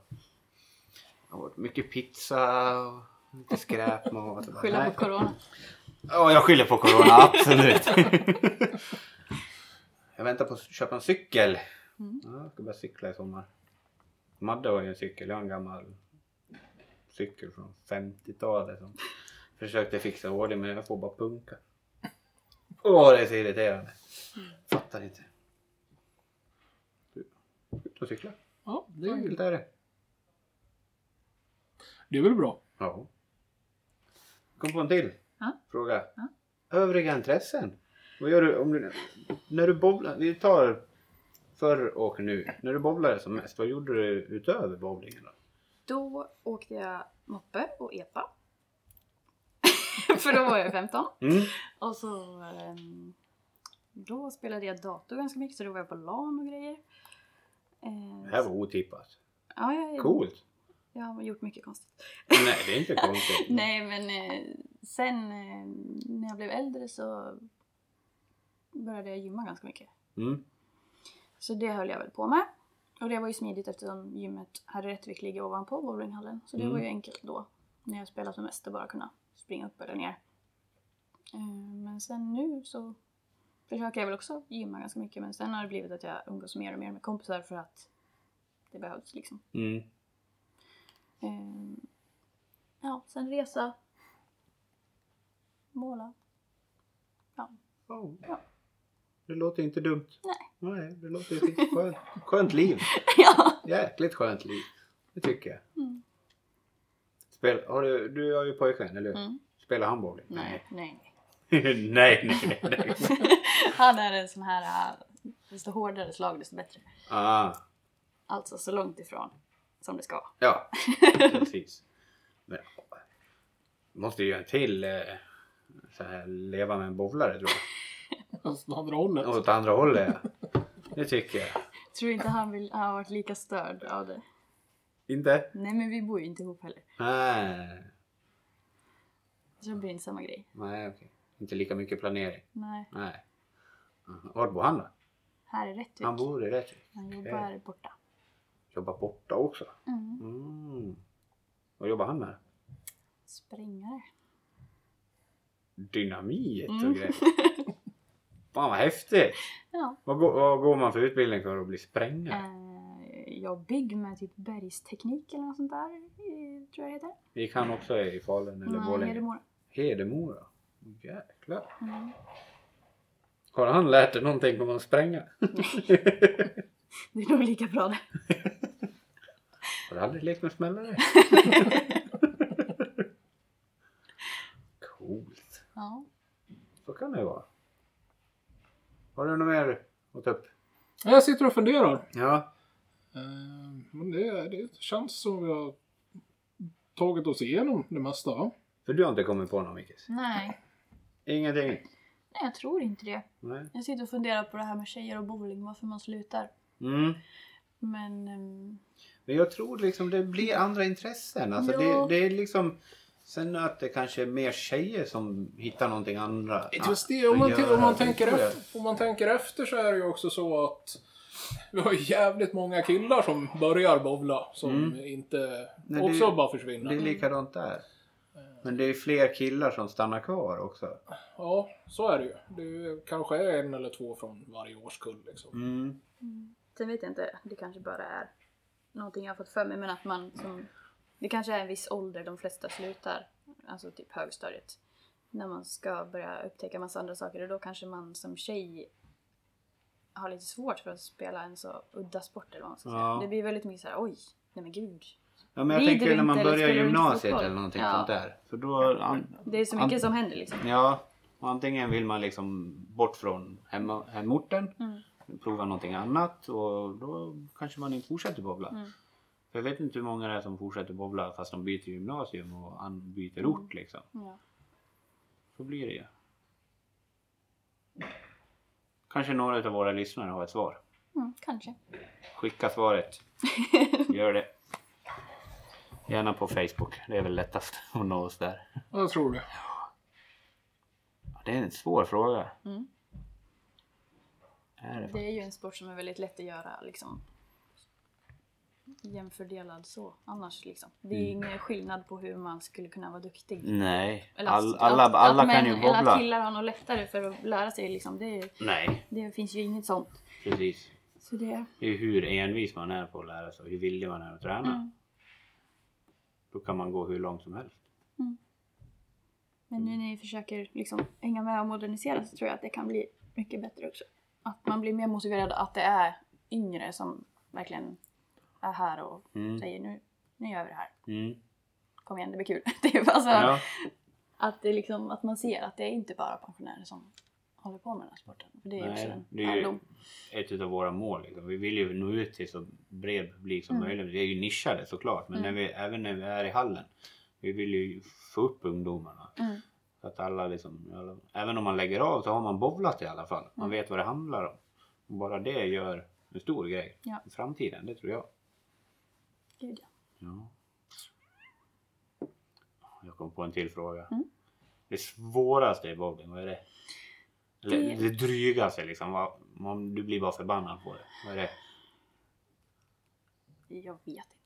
Jag har varit mycket pizza och lite skräpmat. och bara, Skylla nej. på corona. Ja, jag skyller på corona, *laughs* absolut. jag väntar på att köpa en cykel. Mm. Ja, jag ska börja cykla i sommar. Madde har ju en cykel, jag har en gammal cykel från 50-talet som försökte fixa i ordning men jag får bara punka. Åh, det är så irriterande. Fattar inte. Ut och cykla, Ja, det så är, ju- enkelt är det. det är väl bra. Ja. Kom på en till Ja. fråga. Ja. Övriga intressen? Vad gör du om du... När du bowlar, vi tar förr och nu. När du bowlade som mest, vad gjorde du utöver bowlingen då? Då åkte jag moppe och epa. *laughs* För då var jag 15. Mm. Och så... ehm, Då spelade jag dator ganska mycket så då var jag på LAN och grejer. Eh, Det här var otippat. ja, jag, Coolt. jag har gjort mycket konstigt. Nej, det är inte konstigt. *laughs* Nej men eh, sen eh, när jag blev äldre så började jag gymma ganska mycket. Mm. Så det höll jag väl på med. Och det var ju smidigt eftersom gymmet här i Rättvik ligger ovanpå bowlinghallen. Så det Mm. var ju enkelt då. När jag spelat som mest att bara kunna springa upp eller ner. Eh, Men sen nu så försöker jag väl också gymma ganska mycket. Men sen har det blivit att jag umgås mer och mer med kompisar för att det behövs liksom. Mm. Eh, Ja, sen resa. Måla. *laughs* Oh. Ja. Det låter inte dumt. Nej. Nej, det låter riktigt skönt. Skönt liv. ja! Jäkligt skönt liv. Det tycker jag. Mm. Spel, har du, du har ju pojkvän, eller hur? Mm. Spelar han bowling? Nej, nej, nej. *laughs* nej, nej, nej. Han är en sån här, eh, desto hårdare slag desto bättre. Ah, Alltså så långt ifrån som det ska. ja, precis. Men, måste ju göra en till eh, så här, leva med en bowlare tror Fast Alltså, åt andra hållet. jag. Åt andra hållet ja. Det tycker jag. Tror inte han vill, har varit lika störd av det. Inte? Nej men vi bor ju inte ihop heller. Nej, Så det blir inte samma grej. nej okej. Inte lika mycket planering. Nej, Nej. Mhm. Var bor han då? här är Rättvik. Han bor i Rättvik. Han jobbar borta. Jobbar borta också. Mm. Mm. Vad jobbar han med? Sprängare. Dynamit och Mm. grejer. Fan vad häftigt! Ja. Vad, går- vad går man för utbildning för att bli sprängare? Eh, jag och Bygg med typ bergsteknik eller något sånt där, eh, tror jag det heter. Mm. Vi kan också är i Falun eller Borlänge. Hedemora. Hedemora. Jäklar. Mm. Har han lärt dig någonting om att spränga? Det är nog lika bra det. Har du aldrig lekt med *laughs* smällare? Coolt. Ja. Så kan det ju vara. Har du något mer att ta upp? Ja, Jag sitter och funderar. Ja. Eh, Men det, det känns som vi har tagit oss igenom det mesta. va? För du har inte kommit på något Mickis? Nej. Ingenting? Nej, jag tror inte det. Nej. Jag sitter och funderar på det här med tjejer och bowling, varför man slutar. Mm. Men... ehm, Men jag tror liksom det blir andra intressen. Alltså Ja. det, det är liksom... Sen att det kanske är mer tjejer som hittar någonting andra. Just det, om man, att t- göra. om, man Det tänker tror jag. efter, om man tänker efter så är det ju också så att vi har ju jävligt många killar som börjar bowla som inte Mm. Nej, det- också bara Det är försvinner. likadant där. Eh. Men det är fler killar som stannar kvar också. Ja, så är det ju. Det är- kanske är en eller två från varje årskull liksom. Mm. Sen vet jag inte, det kanske bara är någonting jag har fått för mig men att man som... Det kanske är en viss ålder de flesta slutar, alltså typ högstadiet. När man ska börja upptäcka massa andra saker och då kanske man som tjej har lite svårt för att spela en så udda sport eller vad man ska säga. Ja. Det blir väldigt mycket såhär oj, nej men gud. Ja, men jag Rider du tänker när man inte eller börjar spelar du inte gymnasiet fotboll? eller någonting Ja. sånt där. För då, an, Det är så mycket som händer liksom. ja, antingen vill man liksom bort från hemma, hemorten, Mm. prova någonting annat och då kanske man inte fortsätter bowla. Mm. För jag vet inte hur många det är som fortsätter bowla fast de byter gymnasium och an, byter Mm. ort liksom. Ja. Så blir det ju. Kanske några av våra lyssnare har ett svar. Mm, kanske. Skicka *laughs* svaret. Gör det. Gärna på Facebook. Det är väl lättast *laughs* att nå oss där. Jag tror det. Ja, Det är en svår fråga. Mm. Är det Det fan? är ju en sport som är väldigt lätt att göra liksom jämfördelad så annars liksom. Det är ju Mm. ingen skillnad på hur man skulle kunna vara duktig. Nej. Eller att- Mm. All, alla att, alla att kan män ju Eller att bobbla. killar har något lättare för att lära sig liksom. Det, är- Nej, det finns ju inget sånt. precis. Så det... Det är hur envis man är på att lära sig och hur villig man är att träna. Mm. Då kan man gå hur långt som helst. Men nu när vi försöker liksom hänga med och modernisera så tror jag att det kan bli mycket bättre också. Att man blir mer motiverad att det är yngre som verkligen är här och Mm. säger nu, nu gör vi det här. Mm. Kom igen, det blir kul. *laughs* Typ, alltså, Ja. Att, det liksom, att man ser att det är inte bara pensionärer som håller på med den här sporten. För det är ju också Nej, en det är ju lärdom. ett av våra mål. Liksom. Vi vill ju nå ut till så bred publik som Mm. möjligt. Vi är ju nischade såklart, men Mm. när vi, även när vi är i hallen. Vi vill ju få upp ungdomarna. Mm. Så att alla liksom, alla- även om man lägger av så har man bowlat i alla fall. Man Mm. vet vad det handlar om. Och bara det gör en stor grej Ja. i framtiden, det tror jag. Gud, ja. Ja. Jag kom på en till fråga. Mm. Det svåraste i bowling, vad är det? Eller Det- det, drygaste liksom. Vad, man, du blir bara förbannad på det. Vad är det? Jag vet inte.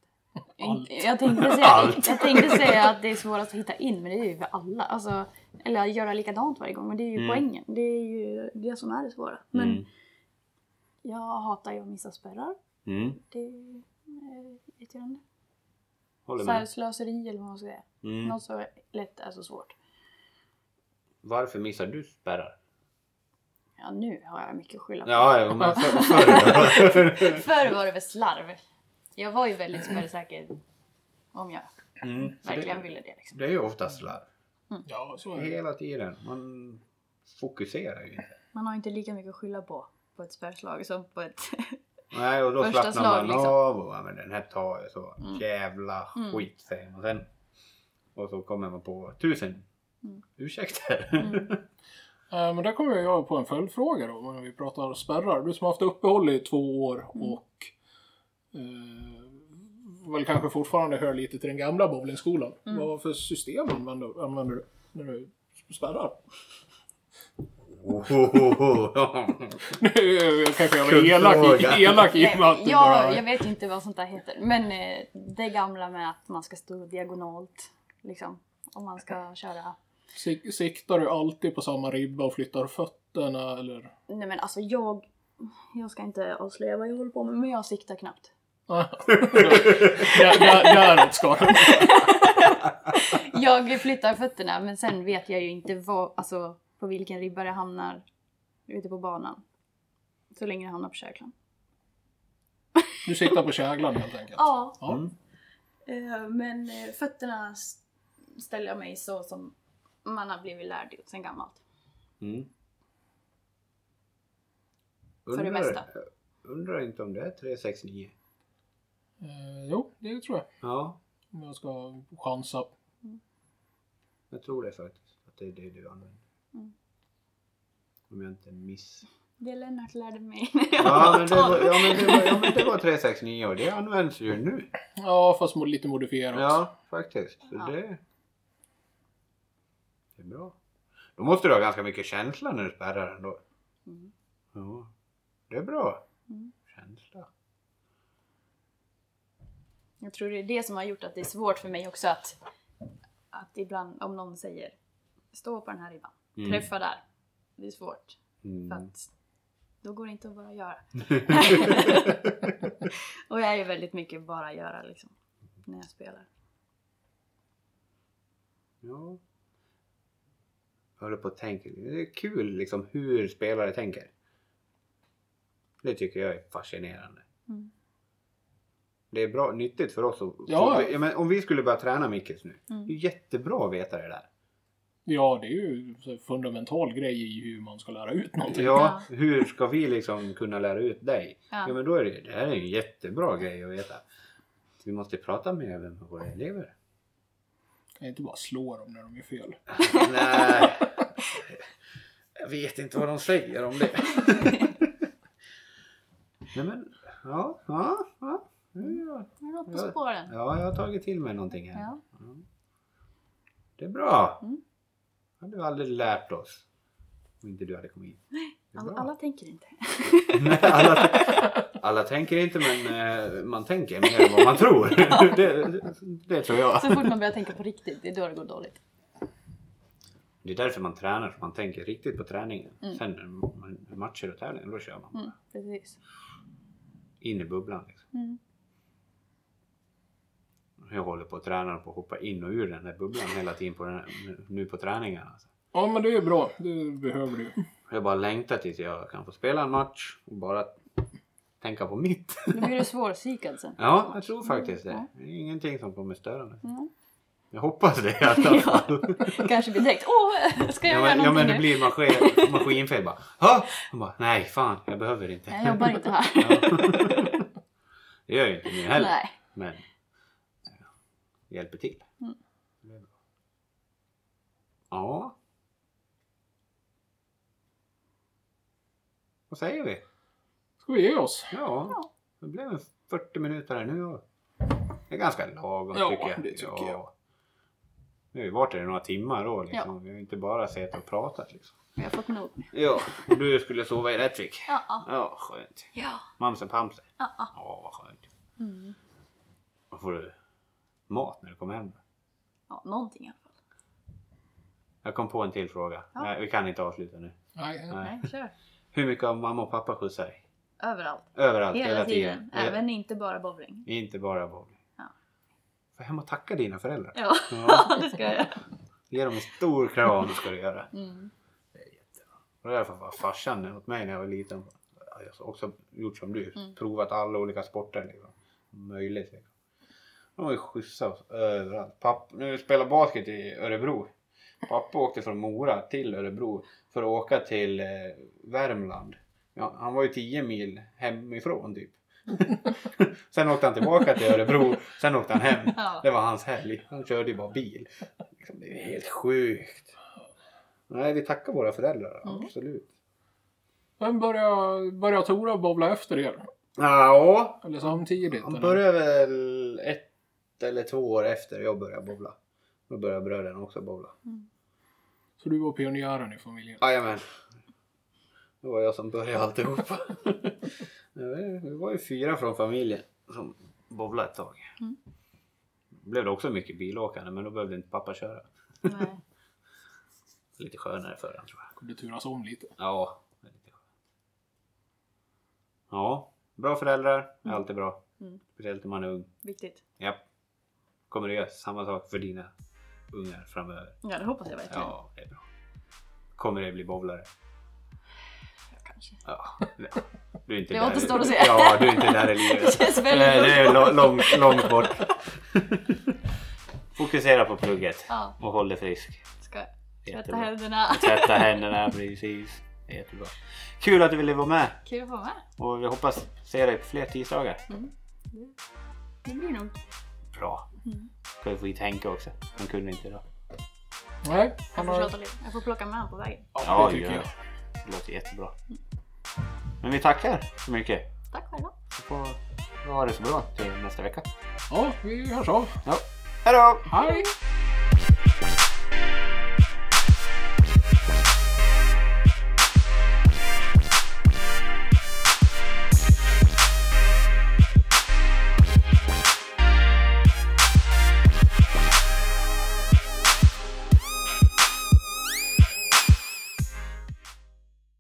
Allt. Jag, jag, tänkte säga, Allt. jag tänkte säga att det är svårast att hitta in, men det är ju för alla. Alltså, eller att göra likadant varje gång, men det är ju Mm. poängen. Det är ju det som är det svåra. Men Mm. jag hatar ju att missa spärrar. Mm. Det är ju eh, irriterande. Håller Så här, med. slöseri eller vad man ska säga. Mm. Något så lätt är så svårt. Varför missar du spärrar? Ja, nu har jag mycket att skylla på. Ja, ja, men för, *laughs* förr då. Förr var det väl slarv. Jag var ju väldigt spärrsäker om jag mm. så verkligen det, ville det. Liksom. det är ju oftast slarv. Ja, så är det. Hela tiden. Man fokuserar ju inte. Man har inte lika mycket att skylla på på ett spärrslag som på ett... Nej, och då Första slappnar slag, man liksom. av och ja, men den här tar jag så. Mm. Jävla Mm. skit säger man sen. Och så kommer man på tusen Mm. *laughs* ursäkter. *laughs* Eh, Men där kommer jag på en följdfråga då, när vi pratar om spärrar. Du som har haft uppehåll i två år och eh, väl kanske fortfarande hör lite till den gamla bowlingskolan. Vad för system använder, använder du när du spärrar? Mm. Nu kanske jag var Kul elak, fråga. i- elak i och med att du bara... jag, jag vet inte vad sånt där heter. Men eh, det gamla med att man ska stå diagonalt. Liksom. Om man ska köra... Sik- Siktar du alltid på samma ribba och flyttar fötterna eller? *laughs* Nej men alltså jag... Jag ska inte avslöja vad jag håller på med, men jag siktar knappt. Där- där- Däråt ska den. Jag flyttar fötterna men sen vet jag ju inte vad, alltså, på vilken ribba det hamnar ute på banan. Så länge det hamnar på käglan. Du siktar på käglan helt enkelt. Ja. Ja. Mm. Eh, Men eh, fötterna s- ställer jag mig så som man har blivit lärd sen gammalt. Mm. För det mesta. Undrar inte om det är 369. Eh, jo, det tror jag. Ja, Om jag ska chansa. jag tror det faktiskt. Att det är det du använder. Mm. Om jag inte miss... Det Lennart lärde mig när jag Ja men, det var, var tolv. ja, men det var, ja men det var 369 och det används ju nu. Ja, fast mo- lite modifierat. Ja, faktiskt. Så Ja. det... Det är bra. Då måste du ha ganska mycket känsla när du spärrar ändå. Mm. Ja, det är bra. Mm. Känsla. Jag tror det är det som har gjort att det är svårt för mig också att, att ibland om någon säger stå på den här ribban, Mm. träffa där. Det är svårt. För Mm. att då går det inte att *laughs* bara göra. och jag är ju väldigt mycket bara göra liksom. När jag spelar. Ja. Jag håller på att tänka. Det är kul liksom hur spelare tänker. Det tycker jag är fascinerande. Mm. Det är bra, nyttigt för oss att... Ja. för- men om vi skulle börja träna Mickes nu. Mm. Det är jättebra att veta det där. Ja, det är ju en fundamental grej i hur man ska lära ut någonting. Ja, hur ska vi liksom kunna lära ut dig? Ja. Ja men då är det, det här är en jättebra grej att veta. Vi måste prata med även med våra elever. *laughs* Jag kan inte bara slå dem när de gör fel. Nej. Jag vet inte vad de säger om *laughs* det. Nej men, ja, ja, ja. Nu är jag- Jag har gått på Ja. spåren. Ja, jag har tagit till mig någonting här. Ja. Det är bra. Mm. Det hade du aldrig lärt oss. Om inte du hade kommit hit. Det är Alla, bra. alla tänker *laughs* inte. Nej, alla, alla tänker inte men eh, man tänker mer än vad man tror. *laughs* Det, det tror jag. Så fort man börjar tänka på riktigt, det är då det går dåligt. Det är därför man tränar, för man tänker riktigt på träningen. Mm. Sen när man- matcher och tävlingar, då kör man. Mm, precis. in i bubblan. Liksom. Mm. Jag håller på att träna på att hoppa in och ur den där bubblan hela tiden på den här, nu på träningarna. Alltså. Ja, men det är ju bra. Det behöver du. Jag bara längtar tills jag kan få spela en match och bara tänka på mitt. *laughs* Då blir du svårpsykad sen. Ja, jag tror faktiskt det. Mm, Det är ingenting som kommer störa mig. Mm. Jag hoppas det i *laughs* alla fall. Kanske blir direkt åh, ska jag Ja göra men, ja, någonting men det nu? blir *laughs* maskin, maskinfel bara. "Ha?" Jag bara, nej fan, jag behöver inte. Jag jobbar inte här. Ja. Det gör jag inte nu *laughs* heller. Nej. Men eh, hjälper till. Mm. Det är bra. Ja. Vad säger vi? Ska vi ge oss? Ja, Ja. det blev en 40 minuter här nu. och Det är ganska lagom Ja, tycker jag. det tycker jag. Nu har vi varit här i några timmar då. Liksom. Vi har ju inte bara sett och pratat. Liksom. Jag har fått nog. Ja, och du skulle sova i Rättvik. Ja, ja, Ja, skönt. ja. Mamsen Pamsen. ja, ja. Ja, vad skönt. Mm. Då får du mat när du kommer hem. ja någonting i alla fall. Jag kom på en till fråga. Ja. Nej, vi kan inte avsluta nu. Nej. Nej. Nej, kör. Hur mycket har mamma och pappa skjutsat dig? Överallt. Överallt, hela, Hela tiden. tiden. Även inte bara bowling. Ja, Inte bara bowling. Ja. Få hem och tacka dina *laughs* föräldrar. Ja, Ja. det ska jag göra. Ge dem en stor kram ska du göra. Mm. Det var därför var farsan åt mig när jag var liten. Jag har också gjort som du. Mm. Provat alla olika sporter. Liksom. Möjligt. Liksom. De har ju skjutsat oss överallt. Papp, nu vi spelade basket i Örebro. Pappa åkte från Mora till Örebro för att åka till eh, Värmland. Ja, han var ju 10 mil hemifrån *laughs* typ. sen åkte han tillbaka till Örebro, sen åkte han hem. Ja. Det var hans helg. Han körde ju bara bil. Liksom, det är helt sjukt. Nej, vi tackar våra föräldrar. Mm. Absolut. Men börjar, börjar Tora bowla efter er? Ja, Eller samtidigt? han eller? började väl ett eller två år efter jag började bowla. Då började bröderna också bowla. Mm. Så du var pionjären i familjen? Jajamän. Det var jag som började *laughs* alltihopa. Det var- Vi var ju fyra från familjen som bowlade ett tag. Mm. Blev det också mycket bilåkande men då behövde inte pappa köra. Nej. Lite skönare för honom tror jag. Kunde turas om lite. Ja, det är lite skönt. Ja, bra föräldrar är alltid bra. Mm. Speciellt när man är ung. Viktigt. Ja. Kommer du göra samma sak för dina ungar framöver? Ja, det hoppas jag verkligen. Ja. Ja, det är bra. Kommer det bli bowlare? Kanske. *laughs* Ja. Du är inte Det där. återstår att se. Ja, du är inte där i *laughs* Det livet. känns Nej, det väldigt är roligt. lo- långt, långt bort. *laughs* Fokusera på plugget Ja, och håll dig frisk. ska jag tvätta Jättebra. händerna. Tvätta händerna, precis. Jättebra. Kul att du ville vara med Kul att få vara med. och vi hoppas se dig på fler tisdagar. Det blir nog. Bra. Mm. Ska vi få hit Henke också. Han kunde inte idag. Nej, Jag han får, har... tjata lite. jag får plocka med honom på vägen. Ja, det tycker gör jag. Det låter jättebra. Men vi tackar så mycket. Tack själva. Så får vi ha det så bra till nästa vecka. Ja, vi hörs av. Ja. Hej då! Hej!